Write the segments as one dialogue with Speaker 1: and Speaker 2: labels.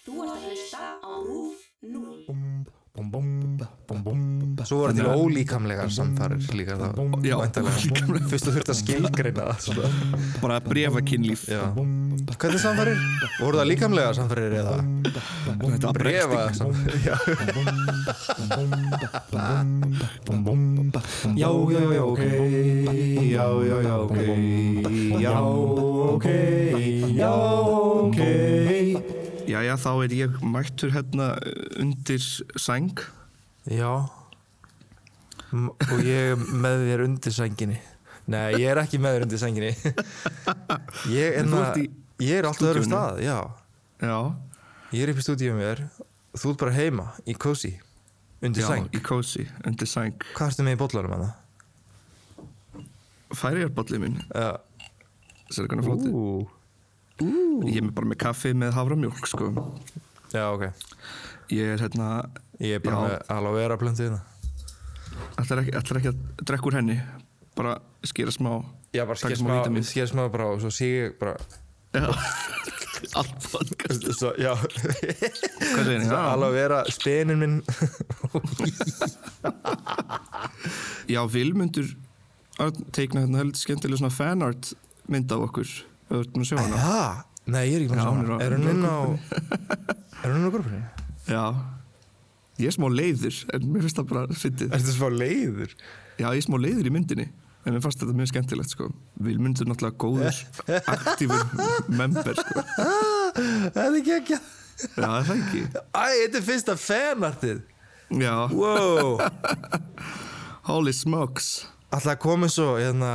Speaker 1: Þú ert að hlusta á RÚF 0.
Speaker 2: Svo voru til ólíkamlegar samfarir líka þá
Speaker 3: Já,
Speaker 2: væntanlega. Fyrst þú þurft að skilgreina það svona.
Speaker 3: bara brefa kynlíf
Speaker 2: Já. Hvernig samfarir? Voru það líkamlegar samfarir eða?
Speaker 3: Þetta var
Speaker 2: Brefa
Speaker 3: bregsting
Speaker 2: samfarir? Já,
Speaker 4: Já, já, já, ok Já, já, já, ok Já, ok Já, ok
Speaker 3: Jæja, þá er ég mættur hérna undir sæng
Speaker 4: Já M Og ég er með þér undir sænginni Nei, ég er ekki með þér undir sænginni Ég er,
Speaker 3: En þú
Speaker 4: na,
Speaker 3: ert í
Speaker 4: ég er alltaf öðrum
Speaker 3: stúdíónu.
Speaker 4: stað Já,
Speaker 3: Já,
Speaker 4: ég er upp í stúdíu mér Þú ert bara heima, í kósi Undir
Speaker 3: já,
Speaker 4: sæng
Speaker 3: í kósi, undir sæng
Speaker 4: Hvað ertu með í bollanum hana?
Speaker 3: Færiðarbollið minn,
Speaker 4: Já,
Speaker 3: sér hvernig flóti
Speaker 4: Ú.
Speaker 3: Ég er með bara með kaffi með haframjólk, sko
Speaker 4: já, ok
Speaker 3: Ég er hérna
Speaker 4: Ég er bara
Speaker 3: já,
Speaker 4: með aloe vera hérna. plöntuðina
Speaker 3: Ætlar ekki, ætlar ekki að drekka úr henni Bara skýra smá
Speaker 4: Já, bara
Speaker 3: taka
Speaker 4: sker smá,
Speaker 3: vítamín.
Speaker 4: sker smá bara og svo sé ég bara
Speaker 3: Já Allt podcast
Speaker 4: svo, Já,
Speaker 3: Hvað segir þið?
Speaker 4: aloe vera stenin minn
Speaker 3: Já, Vilmundur Örn teikna hérna heldur skemmtilega svona fanart mynd af okkur Örn og sjá hana
Speaker 4: Já, nei, ég er ekki með
Speaker 3: Já, hún
Speaker 4: svona
Speaker 3: er á-
Speaker 4: Er hún inn á Er hún inn á korpunni?
Speaker 3: Já Ég er smá leiður, en mér finnst það bara fyndið
Speaker 4: Er þetta svo leiður?
Speaker 3: Já, ég er smá leiður í myndinni En mér fannst þetta mjög skemmtilegt, sko Vilmundur er náttúrulega góður, aktífur member, sko
Speaker 4: Það er ekki ekki
Speaker 3: Já, er það ekki
Speaker 4: Æ, þetta er fyrsta fanartið
Speaker 3: Já,
Speaker 4: Wow
Speaker 3: holy smokes
Speaker 4: Alltaf komið svo, hérna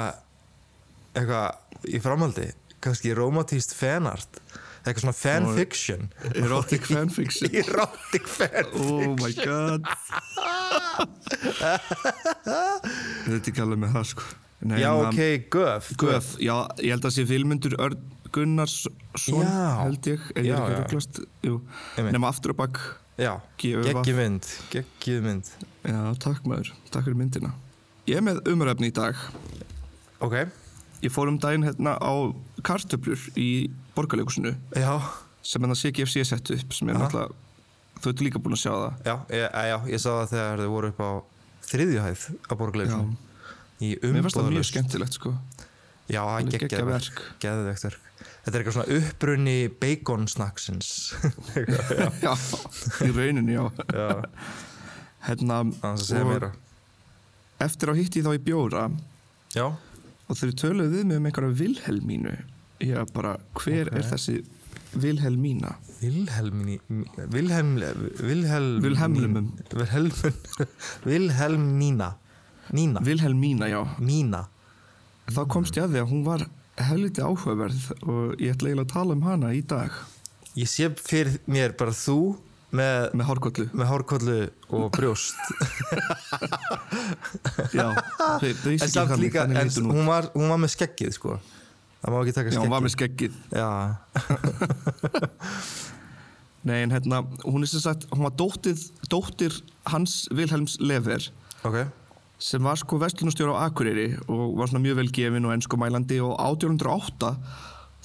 Speaker 4: Eitthvað í framhaldi kannski romantíst fanart Eitthvað svona fanfiction
Speaker 3: Erotic fanfiction
Speaker 4: Erotic fanfiction
Speaker 3: Oh my god Ég veit ekki alveg með það, sko Nei,
Speaker 4: Já,
Speaker 3: en það-
Speaker 4: ok, guff
Speaker 3: Guð, já, ég held að sé Vilmundur Örn Gunnarsson
Speaker 4: Já.
Speaker 3: held ég, ef ég
Speaker 4: Já,
Speaker 3: er ekki
Speaker 4: já.
Speaker 3: rugglast jú,
Speaker 4: Einmitt.
Speaker 3: nema aftur á bakk
Speaker 4: Já,
Speaker 3: Gjöfa.
Speaker 4: geggjum mynd Geggjum mynd
Speaker 3: já, takk maður, takk fyrir myndina ég er með umræfni í dag
Speaker 4: Ok
Speaker 3: ég fór um daginn hérna á kartöflur í borgarleikusinu
Speaker 4: Já,
Speaker 3: sem hérna CGFC er sett upp sem er
Speaker 4: Aha.
Speaker 3: náttúrulega þú ert líka búin að sjá það
Speaker 4: já, ég, að, já, ég sá það þegar þau voru upp á þriðju hæð á borgarleikum Í
Speaker 3: mér fannst það mjög
Speaker 4: umbúðalust
Speaker 3: skemmtilegt sko
Speaker 4: Já, það
Speaker 3: Alveg
Speaker 4: er
Speaker 3: geggjað
Speaker 4: geggjað verk
Speaker 3: verk.
Speaker 4: Geðvegt verk Þetta er eitthvað svona upprunni baconsnacksins
Speaker 3: já. í rauninni, já
Speaker 4: Já,
Speaker 3: hérna,
Speaker 4: annars að segja
Speaker 3: og
Speaker 4: meira
Speaker 3: eftir á hitti ég þá í bjóra
Speaker 4: Já,
Speaker 3: og þeir töluðu við mig um einhverja Vilhelmínu ég var bara, hver er þessi Vilhelmína
Speaker 4: Vilhelmini Vilhelm Vilhelm
Speaker 3: Vilhelmlumum.
Speaker 4: Vilhelm Vilhelm Nína Nína
Speaker 3: Vilhelmína, já,
Speaker 4: Nína
Speaker 3: þá komst ég að því að hún var helviti áhugaverð og ég ætla eiginlega að tala um hana í dag
Speaker 4: Ég sé fyrir mér bara þú með
Speaker 3: með hárkollu
Speaker 4: með hárkollu og brjóst
Speaker 3: já, þau, þau
Speaker 4: en samt líka, en
Speaker 3: hún,
Speaker 4: hún var, hún var með skeggið sko það má ekki taka
Speaker 3: já,
Speaker 4: skeggið
Speaker 3: hún var með skeggið
Speaker 4: já,
Speaker 3: nei, en hérna, hún er sem sagt, hún var dóttið, dóttir hans Vilhelms Lever
Speaker 4: ok
Speaker 3: sem var sko vestlunastjóra á Akureyri og var svona mjög vel gefin og ennskumælandi og 1808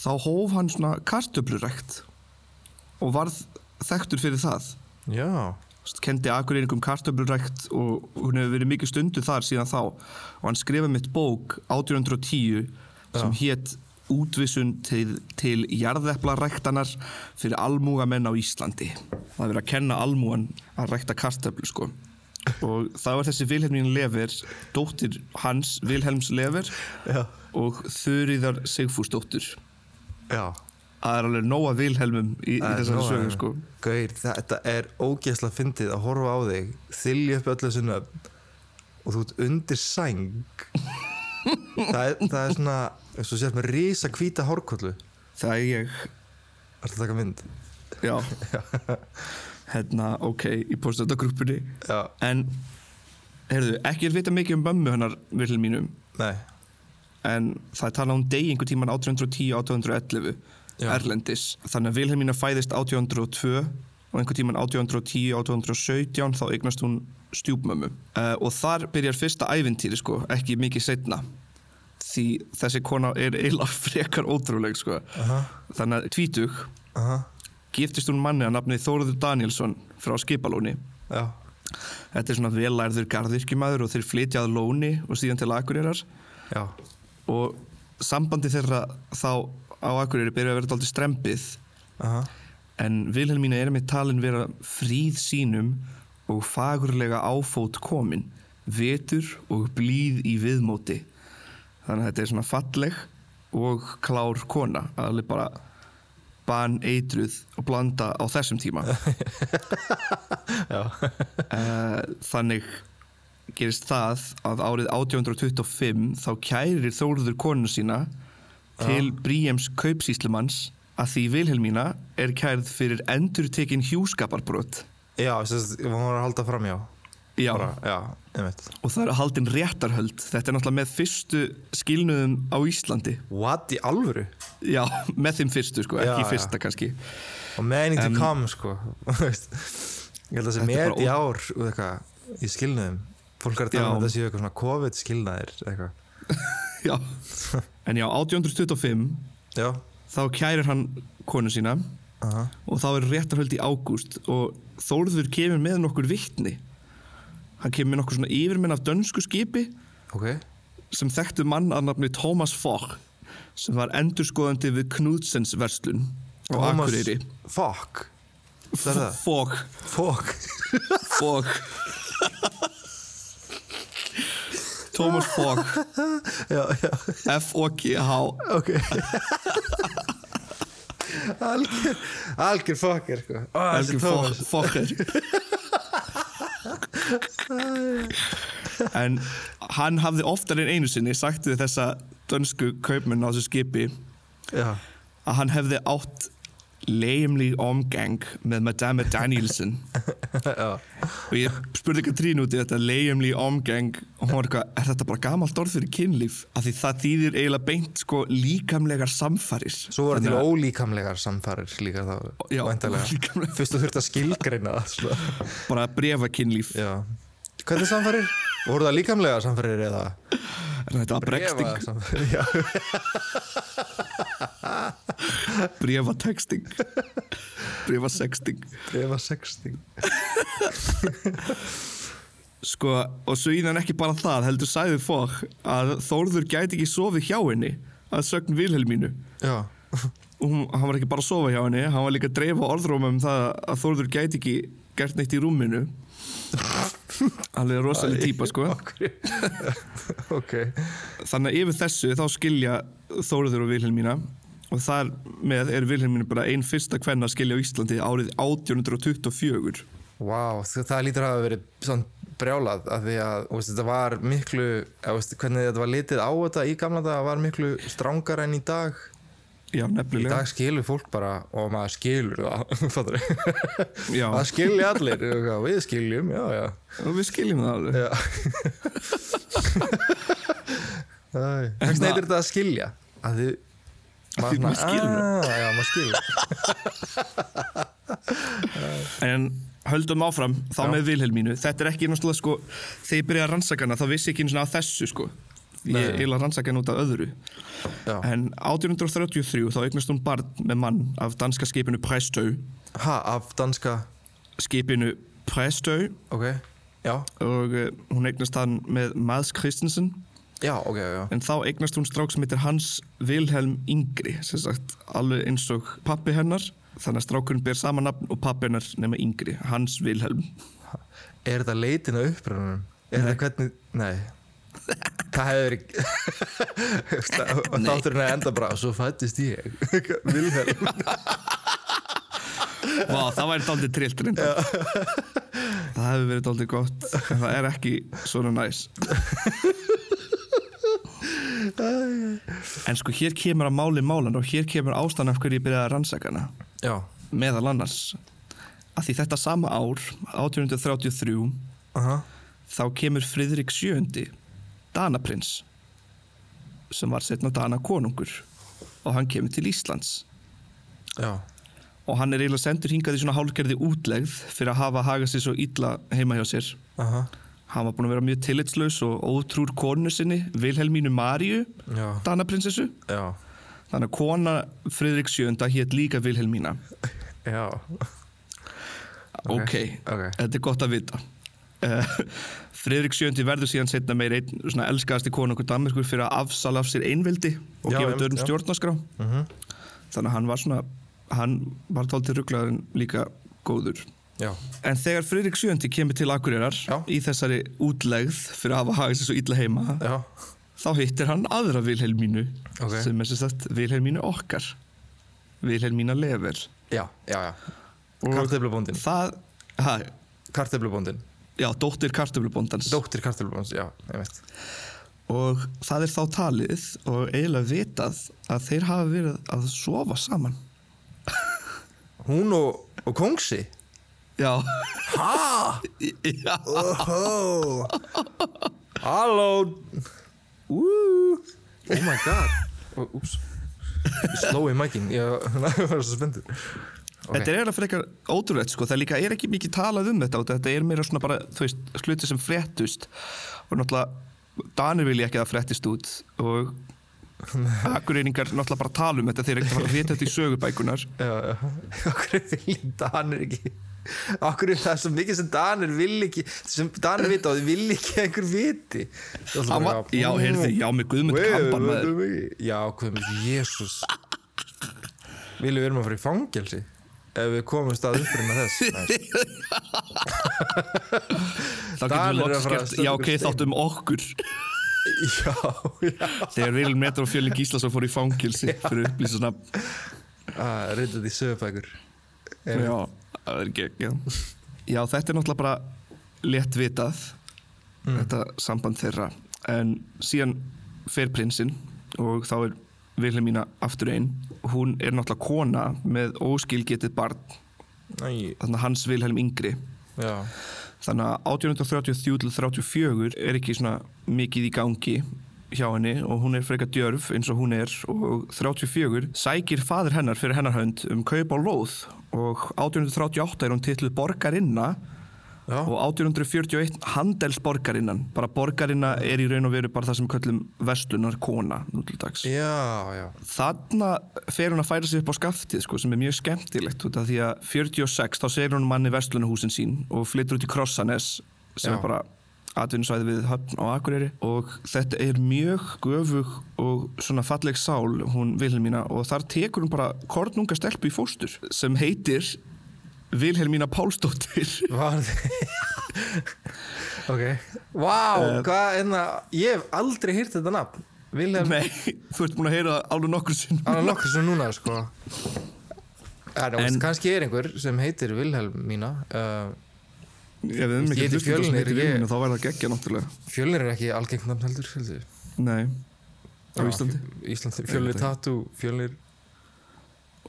Speaker 3: þá hóf hann svona kartöflurækt og varð þekktur fyrir það
Speaker 4: já,
Speaker 3: Sest, kendi Akureyringum kartöflurækt og hún hefur verið mikið stundu þar síðan þá og hann skrifaði mitt bók 1810 sem hétt útvissun til, til jarðeplaræktanar fyrir almúgamenn á Íslandi það er verið að kenna almúgan að rækta kartöflu sko og það var þessi Vilhelmín Lever dóttir hans Vilhelms Lever
Speaker 4: Já.
Speaker 3: og Þuríðar Sigfúsdóttir
Speaker 4: já
Speaker 3: það er alveg nóga Vilhelmum í, í þessari
Speaker 4: Nóa,
Speaker 3: sögu sko
Speaker 4: eh. Gaur, þetta er ógeðslega fyndið að horfa á þig þylja upp öllu sinna og þú ert undir sæng það, er, það er svona eins og sért með risa hvíta hárkollu
Speaker 3: það er ég
Speaker 4: Það er að taka mynd
Speaker 3: Já Hérna, ok, í postatagrúpunni
Speaker 4: Já.
Speaker 3: En, heyrðu, ekki er vita mikið um mömmu hennar vilja mínum
Speaker 4: Nei,
Speaker 3: En það er talað um degi einhver tíman 1810-1811
Speaker 4: Já.
Speaker 3: Erlendis Þannig að Vilhelmína fæðist 1802 Og einhver tíman 1810-1817 Þá eignast hún stjúpmömmu uh, Og þar byrjar fyrsta ævintýri sko Ekki mikið setna Því þessi kona er eiginlega frekar ótrúleg sko Þannig að tvítug
Speaker 4: aha,
Speaker 3: giftist hún manni að nafni Þóruður Danielsson frá Skipalóni.
Speaker 4: já,
Speaker 3: Þetta er svona velærður garðirkjumæður og þeir flytja að Lóni og síðan til Akureyrar
Speaker 4: já,
Speaker 3: og sambandi þeirra þá á Akureyri byrja að vera dálítið strempið
Speaker 4: aha,
Speaker 3: en Vilhelmína er með talin vera fríð sínum og fagurlega áfót komin vetur og blíð í viðmóti þannig að þetta er svona falleg og klár kona aðalega bara ban eitruð og blanda á þessum tíma Eh, þannig gerist það að árið 1825 þá kærir Þóruður konu sína til Bríems kaupsýslumanns að því Vilhelmína er kærð fyrir endurtekin hjúskaparbrot
Speaker 4: já, þess að hún var að halda fram, já,
Speaker 3: Já,
Speaker 4: bara, já, einmitt.
Speaker 3: og það eru haldin réttarhöld þetta er náttúrulega með fyrstu skilnuðum á Íslandi
Speaker 4: What, í alvöru?
Speaker 3: Já, með þeim fyrstu sko,
Speaker 4: Já,
Speaker 3: ekki
Speaker 4: já.
Speaker 3: fyrsta kannski
Speaker 4: Og meaning to come, sko, þú veist, ég held að það
Speaker 3: Þetta
Speaker 4: sé
Speaker 3: er bara
Speaker 4: með í
Speaker 3: ó-
Speaker 4: ár, og eitthvað, í skilnaðum, fólk er að tala um
Speaker 3: Já.
Speaker 4: að það séu eitthvað svona COVID skilnaðir, eitthvað,
Speaker 3: Já, en já, 1825
Speaker 4: já,
Speaker 3: þá kærir hann konu sína
Speaker 4: aha,
Speaker 3: og þá er réttarhöld í ágúst og Þórður kemur með nokkur vittni hann kemur með nokkur svona yfirmenn af dönsku skipi
Speaker 4: ok,
Speaker 3: sem þekktu mann að nafni Thomas Fogg sem var endurskoðandi við Knudsens verslun á
Speaker 4: Thomas-
Speaker 3: Akureyri
Speaker 4: fuck, það er það,
Speaker 3: Fogg
Speaker 4: fuck,
Speaker 3: Fogg Thomas Fogg
Speaker 4: já, já,
Speaker 3: F-O-G-H
Speaker 4: ok algjör algjör fokkir sko. Ó, þessi
Speaker 3: Helgi
Speaker 4: Thomas.
Speaker 3: Fo- Fokker En hann hafði oftar en einu sinni sagt við þessa dönsku kaupmenn á þessu skipi
Speaker 4: já,
Speaker 3: að hann hefði átt leimli omgang með Madame Danielsen og ég spurði Katrín út í þetta leimli omgang og hún var eitthvað, er þetta bara gamalt orð fyrir kynlíf af því það þýðir eiginlega beint sko líkamlegar samfarir
Speaker 4: svo voru til
Speaker 3: Þannig að-
Speaker 4: ólíkamlegar samfarir líka þá
Speaker 3: Já,
Speaker 4: væntanlega
Speaker 3: ólíkamlegar.
Speaker 4: fyrst þú þurft að skilgreina það sko.
Speaker 3: bara brefakynlíf
Speaker 4: já, hvernig samfarir? voru það líkamlega samfarir eða?
Speaker 3: er þetta bregsting
Speaker 4: Efa samfarir, já
Speaker 3: brefatexting brefasexting
Speaker 4: Efa sexting
Speaker 3: sko, og síðan ekki bara það heldur sæði fók að Þórður gæti ekki sofið hjá henni að sögn Vilhelmínu
Speaker 4: já,
Speaker 3: og hún, hann var ekki bara að sofa hjá henni hann var líka að dreifa orðróma um það að Þórður gæti ekki gert neitt í rúminu alveg rosalega típa sko
Speaker 4: ok
Speaker 3: þannig að yfir þessu þá skilja Þórður og Vilhelmína og þar með er Vilhelmína bara einn fyrsta kvenna að skilja á Íslandi árið 1824
Speaker 4: Vá, wow, það lítur að hafa verið svona brjálað af því að þú veist, þetta var miklu, að, veist, hvernig þetta var litið á þetta í gamla daga var miklu strangar en í dag
Speaker 3: já,
Speaker 4: Í
Speaker 3: nefnilega
Speaker 4: dag skilur fólk bara og maður skilur það, fattur
Speaker 3: Já.
Speaker 4: Það skilja allir, og hvað, við skiljum, já, já
Speaker 3: og við skiljum það alveg
Speaker 4: Já Hvernig heitir þetta að skilja? Að þið
Speaker 3: því maður skilur
Speaker 4: það Ah, Já, maður skilur
Speaker 3: En höldum áfram, þá
Speaker 4: Já.
Speaker 3: með Vilhelmínu Þetta er ekki náttúrulega sko Þegar ég byrjaði að rannsaka hana, þá vissi ég ekki einu svona að þessu sko Ég
Speaker 4: Nei.
Speaker 3: eiginlega rannsaka hana út af öðru
Speaker 4: Já.
Speaker 3: En 1833 þá eignast hún barn með mann af danska skipinu Prestau
Speaker 4: Ha, af danska,
Speaker 3: Skipinu Prestau
Speaker 4: ok Já,
Speaker 3: Og uh, hún eignast hann með Mads Christensen
Speaker 4: já, ok, já
Speaker 3: En þá eignast hún strák sem heitir Hans Vilhelm Yngri Sem sagt, alveg eins og pappi hennar Þannig að strákurinn ber sama nafn og pappi hennar nema Yngri Hans Vilhelm
Speaker 4: Er þetta leitin að uppröðunum? Er þetta hvernig, nei Það hefur ekki Þátturinn að enda bara Svo fættist ég Vilhelm
Speaker 3: Vá, það væri daldið trillt reyndar Það hefur verið daldið gott en það er ekki svona næs En sko hér kemur að máli málan og hér kemur ástæðan af hverju ég byrjaði að rannsaka hana
Speaker 4: Já,
Speaker 3: meðal annars að því þetta sama ár 1833
Speaker 4: aha
Speaker 3: þá kemur Friðrik VII Danaprins sem var setna Dana konungur og hann kemur til Íslands
Speaker 4: Já,
Speaker 3: og hann er eiginlega sendur hingað í svona hálfgerði útlegð fyrir að hafa hagað sér svo illa heima hjá sér.
Speaker 4: aha
Speaker 3: Hann var búinn að vera mjög tillitslaus og ótrúr konu sinni, Vilhelmínu Maríu,
Speaker 4: Já.
Speaker 3: Danaprinsessu.
Speaker 4: Já,
Speaker 3: Þannig að kona Friðrik VII hétt líka Vilhelmína.
Speaker 4: Já,
Speaker 3: Ok,
Speaker 4: ok.
Speaker 3: þetta er gott að vita uh, Friðrik VII verður síðan setna meir einn svona elskaðasti konungur Danmarkur fyrir að afsala af sér einveldi og
Speaker 4: Já,
Speaker 3: gefa
Speaker 4: einmitt,
Speaker 3: dörrum
Speaker 4: já. Mhm.
Speaker 3: stjórnarskrá þannig að hann var svona hann var tóltir rugglaður en líka góður
Speaker 4: já,
Speaker 3: En þegar Friðrik VII kemur til Akureyrar
Speaker 4: Já.
Speaker 3: í þessari útlegð fyrir að hafa hagað sér svo illa heima
Speaker 4: já
Speaker 3: þá hittir hann aðra Vilhelmínu
Speaker 4: Ok.
Speaker 3: sem er sem sagt Vilhelmínu okkar Vilhelmína Lever
Speaker 4: Já, já, já
Speaker 3: Og-
Speaker 4: Kartöflubóndin
Speaker 3: Það, ha,
Speaker 4: Kartöflubóndin
Speaker 3: já, dóttir kartöflubóndans
Speaker 4: Dóttir kartöflubóndins, já, ég veit
Speaker 3: og það er þá talið og eiginlega vitað að þeir hafa verið að sofa saman
Speaker 4: Hún og, og kongsi
Speaker 3: já,
Speaker 4: Ha?
Speaker 3: já.
Speaker 4: Oh. Halló Woo. Oh my god oh, Úps Sló í mækin Ég var svo spendur
Speaker 3: þetta er eiginlega frekar ótrúlegt sko, það líka er ekki mikið talað um þetta og þetta er meira svona bara, þú veist, sluti sem fréttust og náttúrulega Danir vilja ekki að það fréttist út og akureyningar náttúrulega bara tala um þetta þeir eru ekki að fara að vita þetta í sögubækunar
Speaker 4: Já, já. Okkur vilja Danir ekki Okkur er það svo mikið sem Danir vil ekki sem Danir vita og þið vil ekki að einhver viti
Speaker 3: Hann var- já,
Speaker 4: mm,
Speaker 3: heyrðu, já, með Guðmund Kamban, maður.
Speaker 4: maður Já, Guðmund, jésús Viljum við erum að fara í fangelsi ef við komumst að upprýna þess Nei,
Speaker 3: þá getum við
Speaker 4: Danir eru að
Speaker 3: loks
Speaker 4: fara að
Speaker 3: gert,
Speaker 4: setja
Speaker 3: já
Speaker 4: okkur
Speaker 3: ok,
Speaker 4: stein.
Speaker 3: þáttum okkur
Speaker 4: Já, já
Speaker 3: þegar Vilhelm Metra og Fjölin Gíslason fór í fangilsi fyrir upplýsasna
Speaker 4: að reynda Ah, því sögubækur
Speaker 3: já, það er gegn já. já, þetta er náttúrulega bara létt vitað þetta samband þeirra en síðan fer prinsinn og þá er Vilhelmína aftur einn hún er náttúrulega kona með óskilgetið barn
Speaker 4: Æ,
Speaker 3: þannig að hans Vilhelm yngri
Speaker 4: já,
Speaker 3: þannig að 1833 til 34 er ekki svona mikið í gangi hjá henni og hún er frekar djörf eins og hún er og 34 sækir fadir hennar fyrir hennar hönd um kaup á lóð og 1838 er hún titluð borgarinna
Speaker 4: já,
Speaker 3: og 1841 handelsborgarinnan bara borgarinna er í raun og veru bara það sem við köllum vestunar kona nútildags
Speaker 4: já, já
Speaker 3: þarna fer hún að færa sig upp á skaftið sko, sem er mjög skemmtilegt út af því að 46 þá segir hún um manni verslunahúsin sín og flyttur út í Krossanes
Speaker 4: Já.
Speaker 3: sem er bara atvinnusvæði við höfn á Akureyri og þetta er mjög göfug og svona falleg sál hún Vilhelmína og þar tekur hún bara kornunga stelpu í fóstur sem heitir Vilhelmína Pálsdóttir
Speaker 4: Var þið Ok Vá,
Speaker 3: Eh,
Speaker 4: hvað enna Ég hef aldrei hýrt þetta nafn Vilhelm
Speaker 3: Nei, þú ert búin að heyra það alveg nokkur sinn
Speaker 4: Anna nokkur sem núna sko Það er
Speaker 3: En-
Speaker 4: kannski er einhver sem heitir Vilhelmína uh,
Speaker 3: Ef við erum
Speaker 4: Ég
Speaker 3: ekki
Speaker 4: heiti
Speaker 3: hlustum
Speaker 4: Fjölnir,
Speaker 3: sem heitir
Speaker 4: ég-
Speaker 3: Vilhelmína þá væri það geggja náttúrulega
Speaker 4: Fjölnir er ekki algengt nafn heldur heldur.
Speaker 3: Nei, á Íslandi
Speaker 4: Íslandi Fjölnir Tatú Fjölnir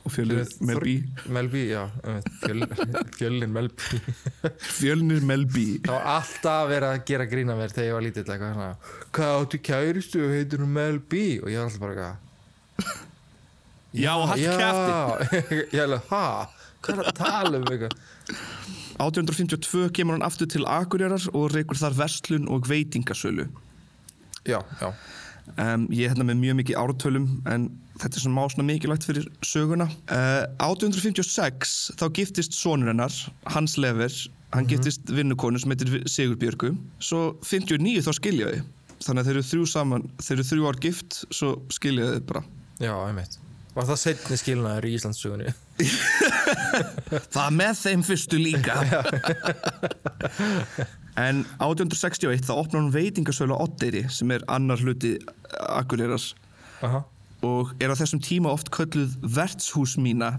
Speaker 3: og fjölnir
Speaker 4: Þor-
Speaker 3: Melby
Speaker 4: Melby, já einmitt, Fjölnir, Fjölnir Melby
Speaker 3: Fjölnir Melby
Speaker 4: Það var alltaf verið að gera grína mér þegar ég var lítill eitthvað svona Hvað áttu kæristu og heitir hún Mel B og ég var alltaf bara eitthvað
Speaker 3: Já, hætt kæfti
Speaker 4: kæfti Ég hefði, hæ, hvað er að tala um eitthvað
Speaker 3: 1852 kemur hann aftur til Akureyrar og reykur þar verslun og veitingasölu
Speaker 4: Já, já,
Speaker 3: um, Ég er hérna með mjög mikið ártölum en þetta er svona má svona mikilvægt fyrir söguna uh, 1856 þá giftist sonur hennar Hans Lever, hann giftist vinnukonu sem heitir Sigurbjörgu svo 59 þá skilja þau þannig að þeir eru þrjú saman, þeir eru þrjú ár gift svo skilja þau bara
Speaker 4: já, einmitt Var það setni skilnaður í Íslandsugunni?
Speaker 3: Það með þeim fyrstu líka En 1861 þá opnar hún veitingasölu á Oddeyri sem er annar hluti Akureyras
Speaker 4: Aha
Speaker 3: og er á þessum tíma oft kölluð vertshús mína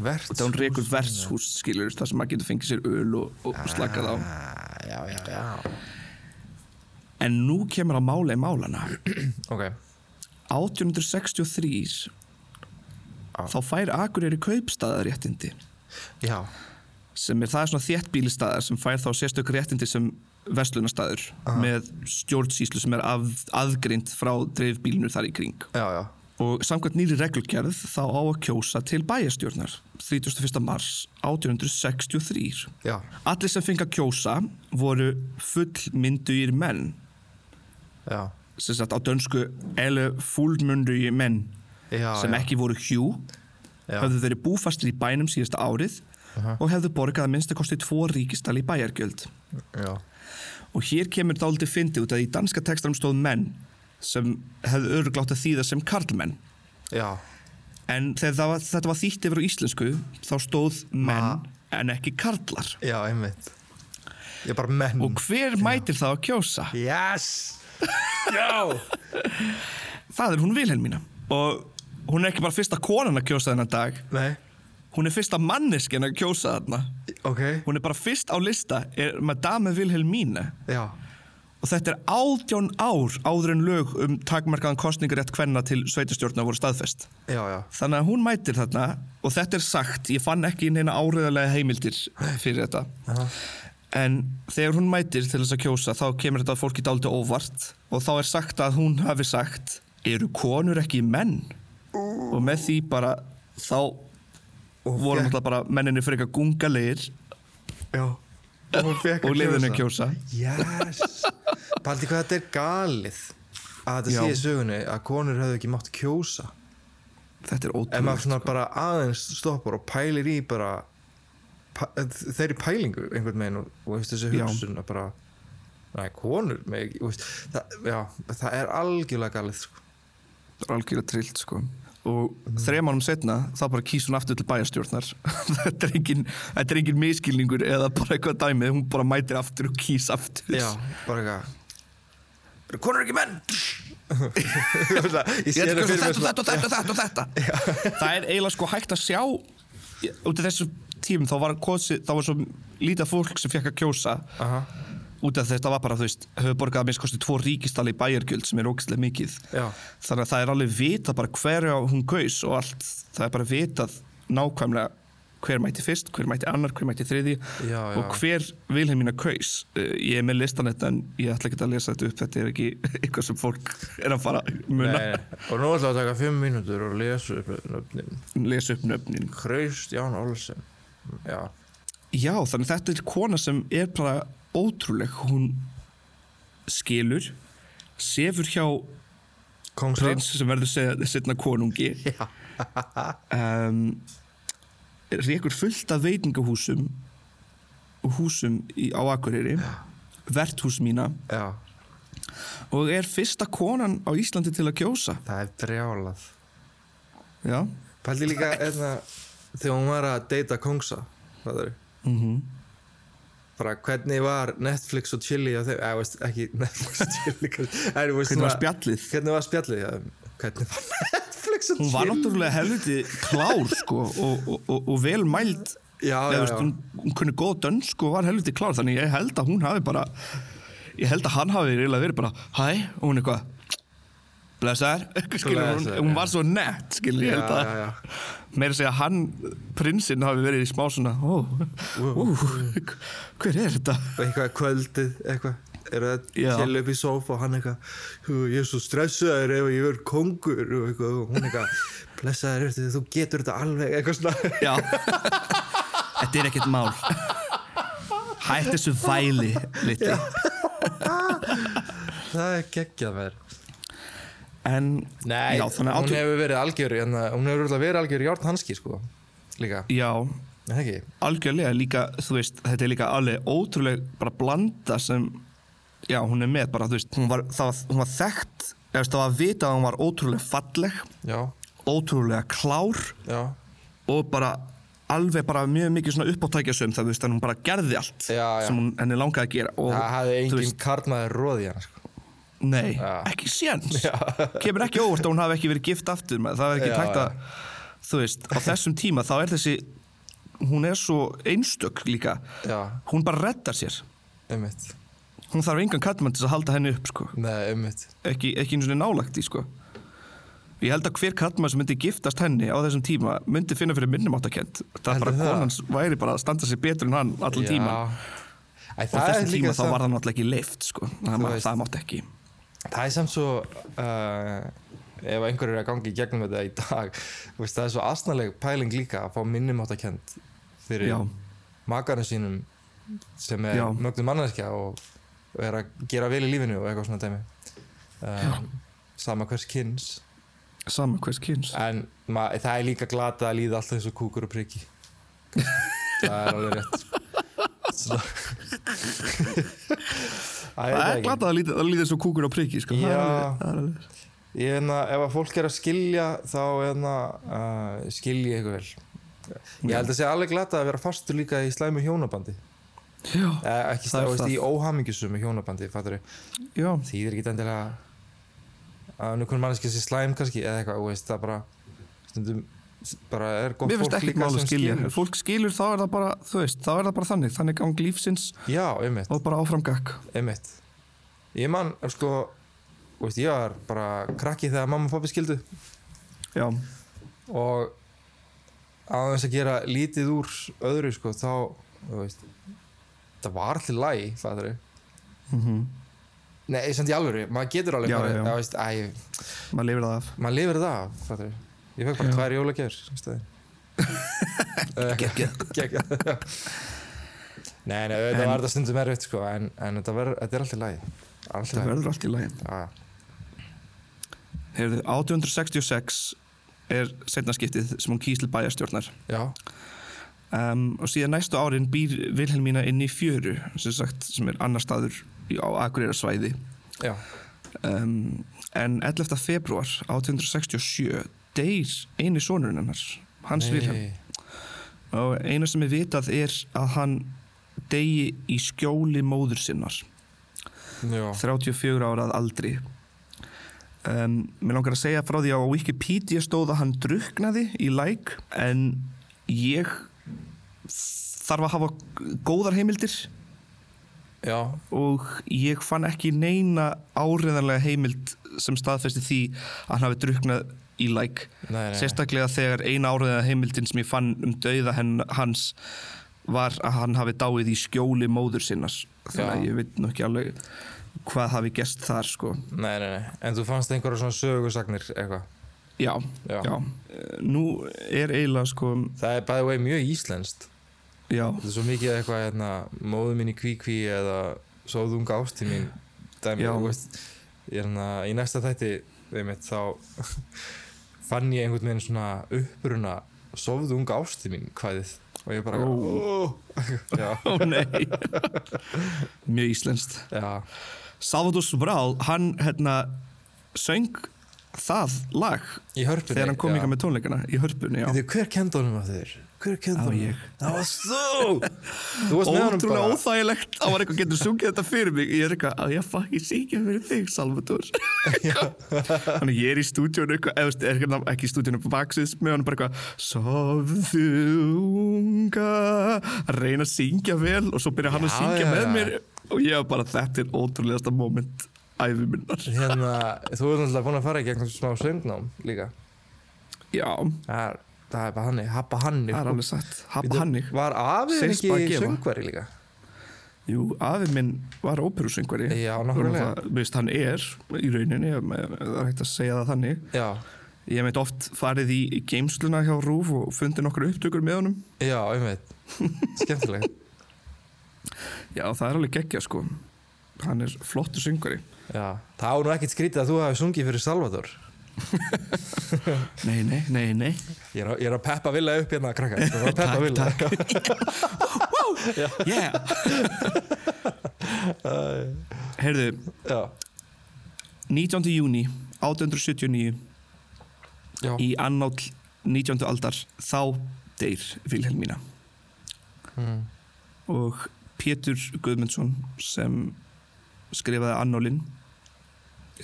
Speaker 4: Vert
Speaker 3: þá hún rekur vertshús skilur þar sem maður getur fengið sér öl og, og slakað á
Speaker 4: Já, já, já
Speaker 3: En nú kemur að mála í málana
Speaker 4: Ok,
Speaker 3: 1863
Speaker 4: Ah.
Speaker 3: þá fær Akureyri kaupstaðaréttindi
Speaker 4: já,
Speaker 3: sem er það er svona þéttbílistæðar sem fær þá sérstök réttindi sem verslunastæður með stjórnsýslu sem er af, aðgrind frá dreifbílinu þar í kring
Speaker 4: já, já
Speaker 3: og samkvæmt nýri reglgerð þá á að kjósa til bæjastjórnar 31. mars 1863
Speaker 4: Já,
Speaker 3: Allir sem fengi að kjósa voru fullmyndugir menn
Speaker 4: já,
Speaker 3: sem sagt á dönsku ele fullmyndugir menn
Speaker 4: já
Speaker 3: sem
Speaker 4: já.
Speaker 3: ekki voru hjú
Speaker 4: Já.
Speaker 3: höfðu verið búfastir í bænum síðasta árið og hefðu borgað að minnstakosti tvo ríkistali bæjargjöld.
Speaker 4: já,
Speaker 3: Og hér kemur dálítið fyndið út að í danska textanum stóð menn sem hefðu öruglátt að þýða sem karlmenn.
Speaker 4: já,
Speaker 3: En þegar það var, þetta var þýtt yfir á íslensku þá stóð menn
Speaker 4: Ma.
Speaker 3: en ekki karlar.
Speaker 4: já, einmitt ég er bara menn
Speaker 3: Og hver mætir þá að kjósa?
Speaker 4: yes, já
Speaker 3: Það er hún Vilhelmína. Og hún er ekki bara fyrsta konan að kjósa þennan dag.
Speaker 4: nei,
Speaker 3: Hún er fyrsta manneskjan að kjósa þarna.
Speaker 4: ok,
Speaker 3: Hún er bara fyrst á lista, er Madame Vilhelmína.
Speaker 4: já
Speaker 3: Og þetta er átjón ár áður en lög um takmarkaðan kostningarétt kvenna til sveitastjórna voru staðfest.
Speaker 4: já, já,
Speaker 3: Þannig að hún mætir þarna og þetta er sagt, ég fann ekki inn eina áriðarlega heimildir fyrir þetta. En þegar hún mætir til þess að kjósa þá kemur þetta fólki dálítið óvart og þá er sagt að hún hafi sagt eru konur ekki menn? Og með því bara þá voru
Speaker 4: fékk-
Speaker 3: náttúrulega bara menninni fyrir eitthvað gungalegir
Speaker 4: já og, hún fékk að
Speaker 3: og leiðinu að kjósa.
Speaker 4: Yes Paldi hvað þetta er galið að þetta
Speaker 3: Já.
Speaker 4: sé í sögunni að konur hefðu ekki mátt kjósa
Speaker 3: Þetta er
Speaker 4: ef
Speaker 3: ótrúlega.
Speaker 4: maður svona bara aðeins stoppar og pælir í bara pæ, þeirri pælingu einhvern veginn og, og veist, þessi
Speaker 3: Já.
Speaker 4: hugsun að bara Nei, konur með, ekki- þú veist, það, já, það er algjörlega galið sko.
Speaker 3: Þetta er algjörlega trillt sko og mm. þrejum ánum setna þá bara kýs hún aftur til bæjarstjórnar þetta, er engin, þetta er engin miskilningur eða bara eitthvað dæmið, hún bara mætir aftur og kýs aftur
Speaker 4: Já, bara eitthvað Eru Konur ekki menn Ég sé
Speaker 3: Ég
Speaker 4: það fyrir
Speaker 3: ætla að kjósa
Speaker 4: mér svona-
Speaker 3: þetta og þetta og þetta og þetta, og þetta. það er eiginlega sko hægt að sjá út af þessu tím þá var, kosi, þá var svo lítið fólk sem fekk að kjósa
Speaker 4: Aha,
Speaker 3: út af þetta var bara, þú veist, höfðu borgað að minnst kosti tvo ríkistali í bæjargjöld sem er ógæslega mikið
Speaker 4: Já.
Speaker 3: þannig að það er alveg vita bara hverja hún kaus og allt, það er bara vitað nákvæmlega hver mætti fyrst, hver mætti annar, hver mætti þriði
Speaker 4: Já, já.
Speaker 3: og hver Vilhelmína kaus Eh, ég er með listan þetta en ég ætla ekki að lesa þetta upp þetta er ekki eitthvað sem fólk er að fara að muna,
Speaker 4: nei, nei. Og nú ætlaðu að taka fimm mínútur og lesa upp nöfnin
Speaker 3: lesa upp nöfnin
Speaker 4: Hraust Ján Olsen Já,
Speaker 3: Já, þannig að þetta er kona sem er bara ótrúleg, hún skilur sefur hjá
Speaker 4: Kongsland
Speaker 3: prins sem verður segja setna konungi um, rekur fullt af veitingahúsum og húsum í, á Akureyri verthús mína
Speaker 4: Já,
Speaker 3: og er fyrsta konan á Íslandi til að kjósa
Speaker 4: það er brjálað
Speaker 3: já,
Speaker 4: Pældi líka einna, þegar hún var að deyta Kongsa Það er
Speaker 3: mm
Speaker 4: bara hvernig var Netflix og Chili á þeim, eða veist ekki Netflix og Chili kannski, en, veist,
Speaker 3: hvernig var
Speaker 4: svona-
Speaker 3: spjallið
Speaker 4: Hvernig var spjallið, já, hvernig var Netflix og
Speaker 3: hún var
Speaker 4: Chili
Speaker 3: náttúrulega helviti klár sko, og, og, og, og vel mæld
Speaker 4: Já, já,
Speaker 3: Eða, þú veist,
Speaker 4: já.
Speaker 3: hún, hún kunni góð dönsk sko, og var helviti klár þannig ég held að hún hafi bara ég held að hann hafi reyla verið bara hæ og hún eitthvað blessaður skilur, hún,
Speaker 4: Blessaður,
Speaker 3: hún
Speaker 4: já.
Speaker 3: var svo nett skilur ég held
Speaker 4: Já,
Speaker 3: að
Speaker 4: já, já.
Speaker 3: meira að segja hann prinsinn hafi verið í smá svona ó, ú, hver er þetta
Speaker 4: eitthvað kvöldið, eitthvað eru það
Speaker 3: Já.
Speaker 4: chill upp í sófa og hann eitthvað "Hú, ég er svo stressaður ef ég verð kongur og eitthvað, og hún eitthvað blessaður ertu, þú getur þetta alveg eitthvað svona
Speaker 3: já þetta er ekkert mál hætti þessu væli liti
Speaker 4: það er geggjað mér
Speaker 3: en
Speaker 4: Nei,
Speaker 3: já,
Speaker 4: hún
Speaker 3: þannig að átján-
Speaker 4: hefur verið algjör hérna, hún hefur örugglega verið algjör járn hanski sko, líka,
Speaker 3: já,
Speaker 4: er það ekki?
Speaker 3: algjörlega líka, þú veist, þetta er líka alveg ótrúleg bara blanda sem já, hún er með bara, þú veist, hún var, það, var- hún var þekkt, eða þú veist, það var vitað að hún var ótrúlega falleg,
Speaker 4: Já,
Speaker 3: ótrúlega klár
Speaker 4: já,
Speaker 3: og bara alveg bara mjög mikið svona uppáttækjasum það, þú veist, en hún bara gerði allt
Speaker 4: Já, já.
Speaker 3: sem hún henni langaði að gera og,
Speaker 4: það hafði
Speaker 3: þú
Speaker 4: engin karlmaður róði hann sko.
Speaker 3: nei,
Speaker 4: Já.
Speaker 3: ekki séns kemur ekki óvart að hún hafi ekki verið gift aftur maður. það er ekki
Speaker 4: Já,
Speaker 3: tækt að, þú veist, á þessum tíma þá er þessi, hún er svo einstök líka,
Speaker 4: Já.
Speaker 3: hún bara reddar sér
Speaker 4: ummitt,
Speaker 3: hún þarf engan kallmann til þess að halda henni upp sko.
Speaker 4: nei ummitt
Speaker 3: ekki, ekki eins og nálagt í sko. ég held að hver kallmann sem myndi giftast henni á þessum tíma myndi finna fyrir minnumáttakent það er
Speaker 4: Heldur
Speaker 3: bara
Speaker 4: það?
Speaker 3: konans væri bara að standa sig betur en hann allan tíman
Speaker 4: Æ,
Speaker 3: og á
Speaker 4: það, er
Speaker 3: þessum
Speaker 4: líka
Speaker 3: tíma þá
Speaker 4: samt,
Speaker 3: var það náttúrulega ekki leift sko. það, ma-
Speaker 4: veist.
Speaker 3: það mátt ekki
Speaker 4: það er samt svo uh, ef einhverjur er að gangi í gegnum þetta í dag þú veist, það er svo asnaleg pæling líka að fá minnumáttakend fyrir
Speaker 3: Já.
Speaker 4: makarinn sínum sem er
Speaker 3: Já.
Speaker 4: mögnum manneskja og, og er að gera vel í lífinu og eitthvað svona dæmi um, sama hvers kynns
Speaker 3: Saman hvers kyns
Speaker 4: en ma, það er líka glata að líða alltaf eins og kúkur og priki það er alveg rétt Svona. Æ, ég veit
Speaker 3: Það er
Speaker 4: ekki.
Speaker 3: glatað að líða, að líða svo kúkur á priki sko. Það er
Speaker 4: Já.
Speaker 3: alveg- það er alveg-
Speaker 4: ég hefna, ef að fólk er að skilja þá hefna, uh, skilji ég eitthvað vel ég held að sé alveg glata að vera fastur líka í slæmu hjónabandi
Speaker 3: Já,
Speaker 4: eh, ekki
Speaker 3: Það er
Speaker 4: stáðist
Speaker 3: það.
Speaker 4: í óhamingjusum hjónabandi fattur
Speaker 3: já,
Speaker 4: þýðir ekki endilega að nú konum manneskja sé slæm kannski eða eitthvað, þú veist, það bara stundum s- bara er gott
Speaker 3: mér finnst
Speaker 4: fólk
Speaker 3: ekkert
Speaker 4: líka
Speaker 3: mál að
Speaker 4: sem
Speaker 3: skilja
Speaker 4: skilur.
Speaker 3: Ef fólk skilur þá er það bara, þú veist, þá er það bara þannig Þannig gang lífsins
Speaker 4: Já, einmitt,
Speaker 3: og bara áfram gakk
Speaker 4: einmitt Ég man, er sko þú veist, ég var bara krakki þegar mamma og pappi skildu
Speaker 3: Já,
Speaker 4: og aðeins að gera lítið úr öðru sko, þá, þú veist það var allir læg, fattur
Speaker 3: mhm,
Speaker 4: Nei, samt í alvöru, maður getur alveg
Speaker 3: Já,
Speaker 4: bara,
Speaker 3: já.
Speaker 4: þú veist, æ,
Speaker 3: maður lifir það af
Speaker 4: maður lifir það af, fattur Ég fekk bara tvær jólagjör, í staðinn
Speaker 3: Gekkið
Speaker 4: Gekka Nei, nei, auðvitað
Speaker 3: En-
Speaker 4: var þetta stundum erfitt sko En, en þetta, ver, þetta er alltaf lægi Alltaf
Speaker 3: Það verður allt í lagi
Speaker 4: lægi
Speaker 3: Heyrðu, 1866 er setna skiptið sem hún kýsl bæjarstjórnar
Speaker 4: Já,
Speaker 3: um, og síðan næstu árin býr Vilhelmína inn í fjöru sem, sagt, sem er annar staður í- á Akureyrarsvæði
Speaker 4: já,
Speaker 3: um, en 11. februar 1867 deyr eini sonurinn hennar Hans Vilhelm og eina sem er vitað er að hann degi í skjóli móður sinnar
Speaker 4: já,
Speaker 3: 34 ára að aldri um, Mér langar að segja frá því að á Wikipedia stóð að hann druknaði í læk en ég þarf að hafa góðar heimildir
Speaker 4: já
Speaker 3: og ég fann ekki neina áriðanlega heimild sem staðfesti því að hann hafi druknað í læk
Speaker 4: Nei, nei, nei.
Speaker 3: sérstaklega þegar eina áriðanlega heimildin sem ég fann um dauða henn, hans var að hann hafi dáið í skjóli móður sinnas þannig að
Speaker 4: Já.
Speaker 3: ég veit nú ekki alveg hvað hafi gerst þar sko
Speaker 4: Nei, nei, nei, en þú fannst einhverja svona sögursagnir eitthvað
Speaker 3: Já,
Speaker 4: Já.
Speaker 3: já. Eh, Nú er eiginlega sko,
Speaker 4: Það er by the way mjög íslenskt
Speaker 3: já,
Speaker 4: Þetta er svo mikið eitthvað hérna Móðu mín í kvíkví eða Sóðunga ásti mín dæmi,
Speaker 3: Já.
Speaker 4: þú veist, ég er hérna, Í næsta þætti einmitt, þá fann ég einhvern veginn svona uppruna Sóðunga ásti mín hvaðið og ég bara
Speaker 3: Ó.
Speaker 4: oh. Já,
Speaker 3: ó nei, mjög íslenskt.
Speaker 4: já,
Speaker 3: Salvador Sobral, hann hérna söng það lag
Speaker 4: í hörpunni
Speaker 3: þegar hann kom ykkar með tónleikana í hörpunni, já.
Speaker 4: Þið, hver kendi honum að þér? Hver kendi
Speaker 3: Það var
Speaker 4: honum?
Speaker 3: ég.
Speaker 4: Það var þú! Þú varst með honum
Speaker 3: Ótrúlega
Speaker 4: bara
Speaker 3: óþægilegt að var eitthvað getur sungið þetta fyrir mig Ég er eitthvað að ég fucking syngja fyrir þig Salvador Þannig ég er í stúdíun eitthvað eða þú veist, er eitthvað ekki í stúdíun upp á baksins með hann bara eitthvað Sofðu unga að reyna að syngja vel og svo byrja hann að
Speaker 4: Já,
Speaker 3: syngja
Speaker 4: já,
Speaker 3: með
Speaker 4: já.
Speaker 3: mér og ég var bara þetta er ótrúlegasta moment æfi minnar
Speaker 4: Hérna, þú er náttúrulega búin að fara í gegnum smá söngnám líka
Speaker 3: Já,
Speaker 4: Það er, það er bara hannig, happa hannig
Speaker 3: það er alveg satt Happa hannig
Speaker 4: Var afinn
Speaker 3: Seilst bara að
Speaker 4: ekki
Speaker 3: gefa.
Speaker 4: söngvari líka?
Speaker 3: Jú, afi minn var óperusöngvari
Speaker 4: Já, nákvæmlega.
Speaker 3: náttúrulega Veist, hann er í rauninni, ef maður- það er hægt að segja það þannig
Speaker 4: Já,
Speaker 3: Ég hef meitt oft farið í í geymsluna hjá Rúf og fundið nokkru upptökur með honum.
Speaker 4: já, einmitt Skemmtilegt
Speaker 3: Já, það er alveg geggja sko. Hann er flottur syngari.
Speaker 4: já. Það á nú ekkert skrítið að þú hafi sungið fyrir Salvador
Speaker 3: Nei, nei, nei, nei.
Speaker 4: Ég er, að- ég er að peppa vilja upp hérna, krakkar Ég er að peppa vilja
Speaker 3: Yeah! Herðu,
Speaker 4: Já,
Speaker 3: 19. júni 1879
Speaker 4: já,
Speaker 3: í annáll 19. aldar þá deyr Vilhelmína
Speaker 4: mm.
Speaker 3: og Pétur Guðmundsson sem skrifaði annálinn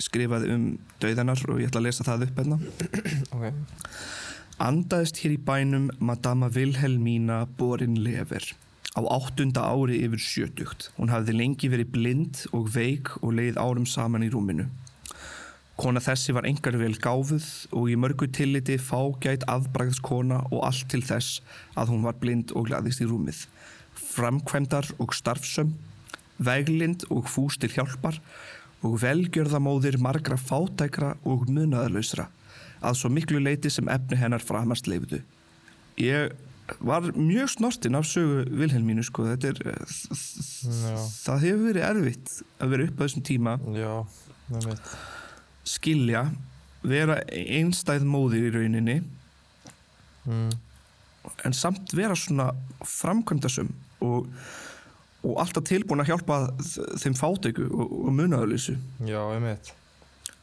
Speaker 3: skrifaði um dauðanar og ég ætla að lesa það upp hérna.
Speaker 4: ok
Speaker 3: Andaðist hér í bænum Madama Vilhelmína Borin Lever á áttunda ári yfir sjötugt. Hún hafði lengi verið blind og veik og leið árum saman í rúminu. Kona þessi var engar vel gáfuð og í mörgu tilliti fágætt afbragðskona og allt til þess að hún var blind og glæðist í rúmið. Framkvæmdar og starfsöm, veglind og fústir hjálpar og velgjörðamóðir margra fátækra og munaðarlausra að svo miklu leiti sem efni hennar framast leifðu. Ég var mjög snortinn af sögu Vilhelmínu sko, þetta er,
Speaker 4: Já,
Speaker 3: það hefur verið erfitt að vera upp á þessum tíma
Speaker 4: já, einmitt
Speaker 3: skilja vera einstæð móðir í rauninni en samt vera svona framkvæmdasum og, og alltaf tilbúin að hjálpa þ- þeim fátöku og, og munaðurleysu
Speaker 4: Já, einmitt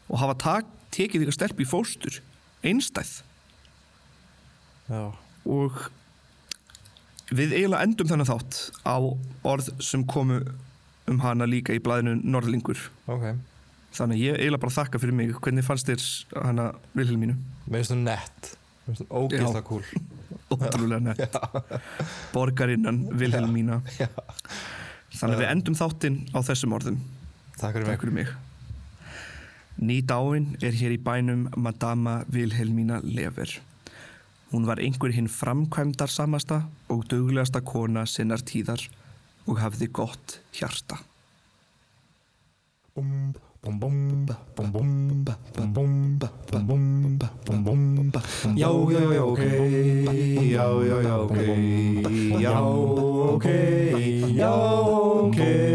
Speaker 3: og hafa tak, tekið ykkar stelp í fóstur einstæð
Speaker 4: Já,
Speaker 3: og við eiginlega endum þennan þátt á orð sem komu um hana líka í blæðinu Norðlingur
Speaker 4: ok
Speaker 3: þannig að ég eiginlega bara þakka fyrir mig hvernig fannst þér hana Vilhelmínu
Speaker 4: Mér finnst þú nett Mér finnst þú ógeðslega cool
Speaker 3: ótrúlega nett borgarinnan Vilhelmína þannig að við endum þáttinn á þessum orðum
Speaker 4: Takk fyrir mig
Speaker 3: takk fyrir mig Ný dáin er hér í bænum Madama Vilhelmína Lever hún var einhver hinn framkvæmdar samasta og duglegasta kona sinnar tíðar og hafði gott hjarta
Speaker 4: Já, já, já, ok Já, já, já, ok Já, ok Já, ok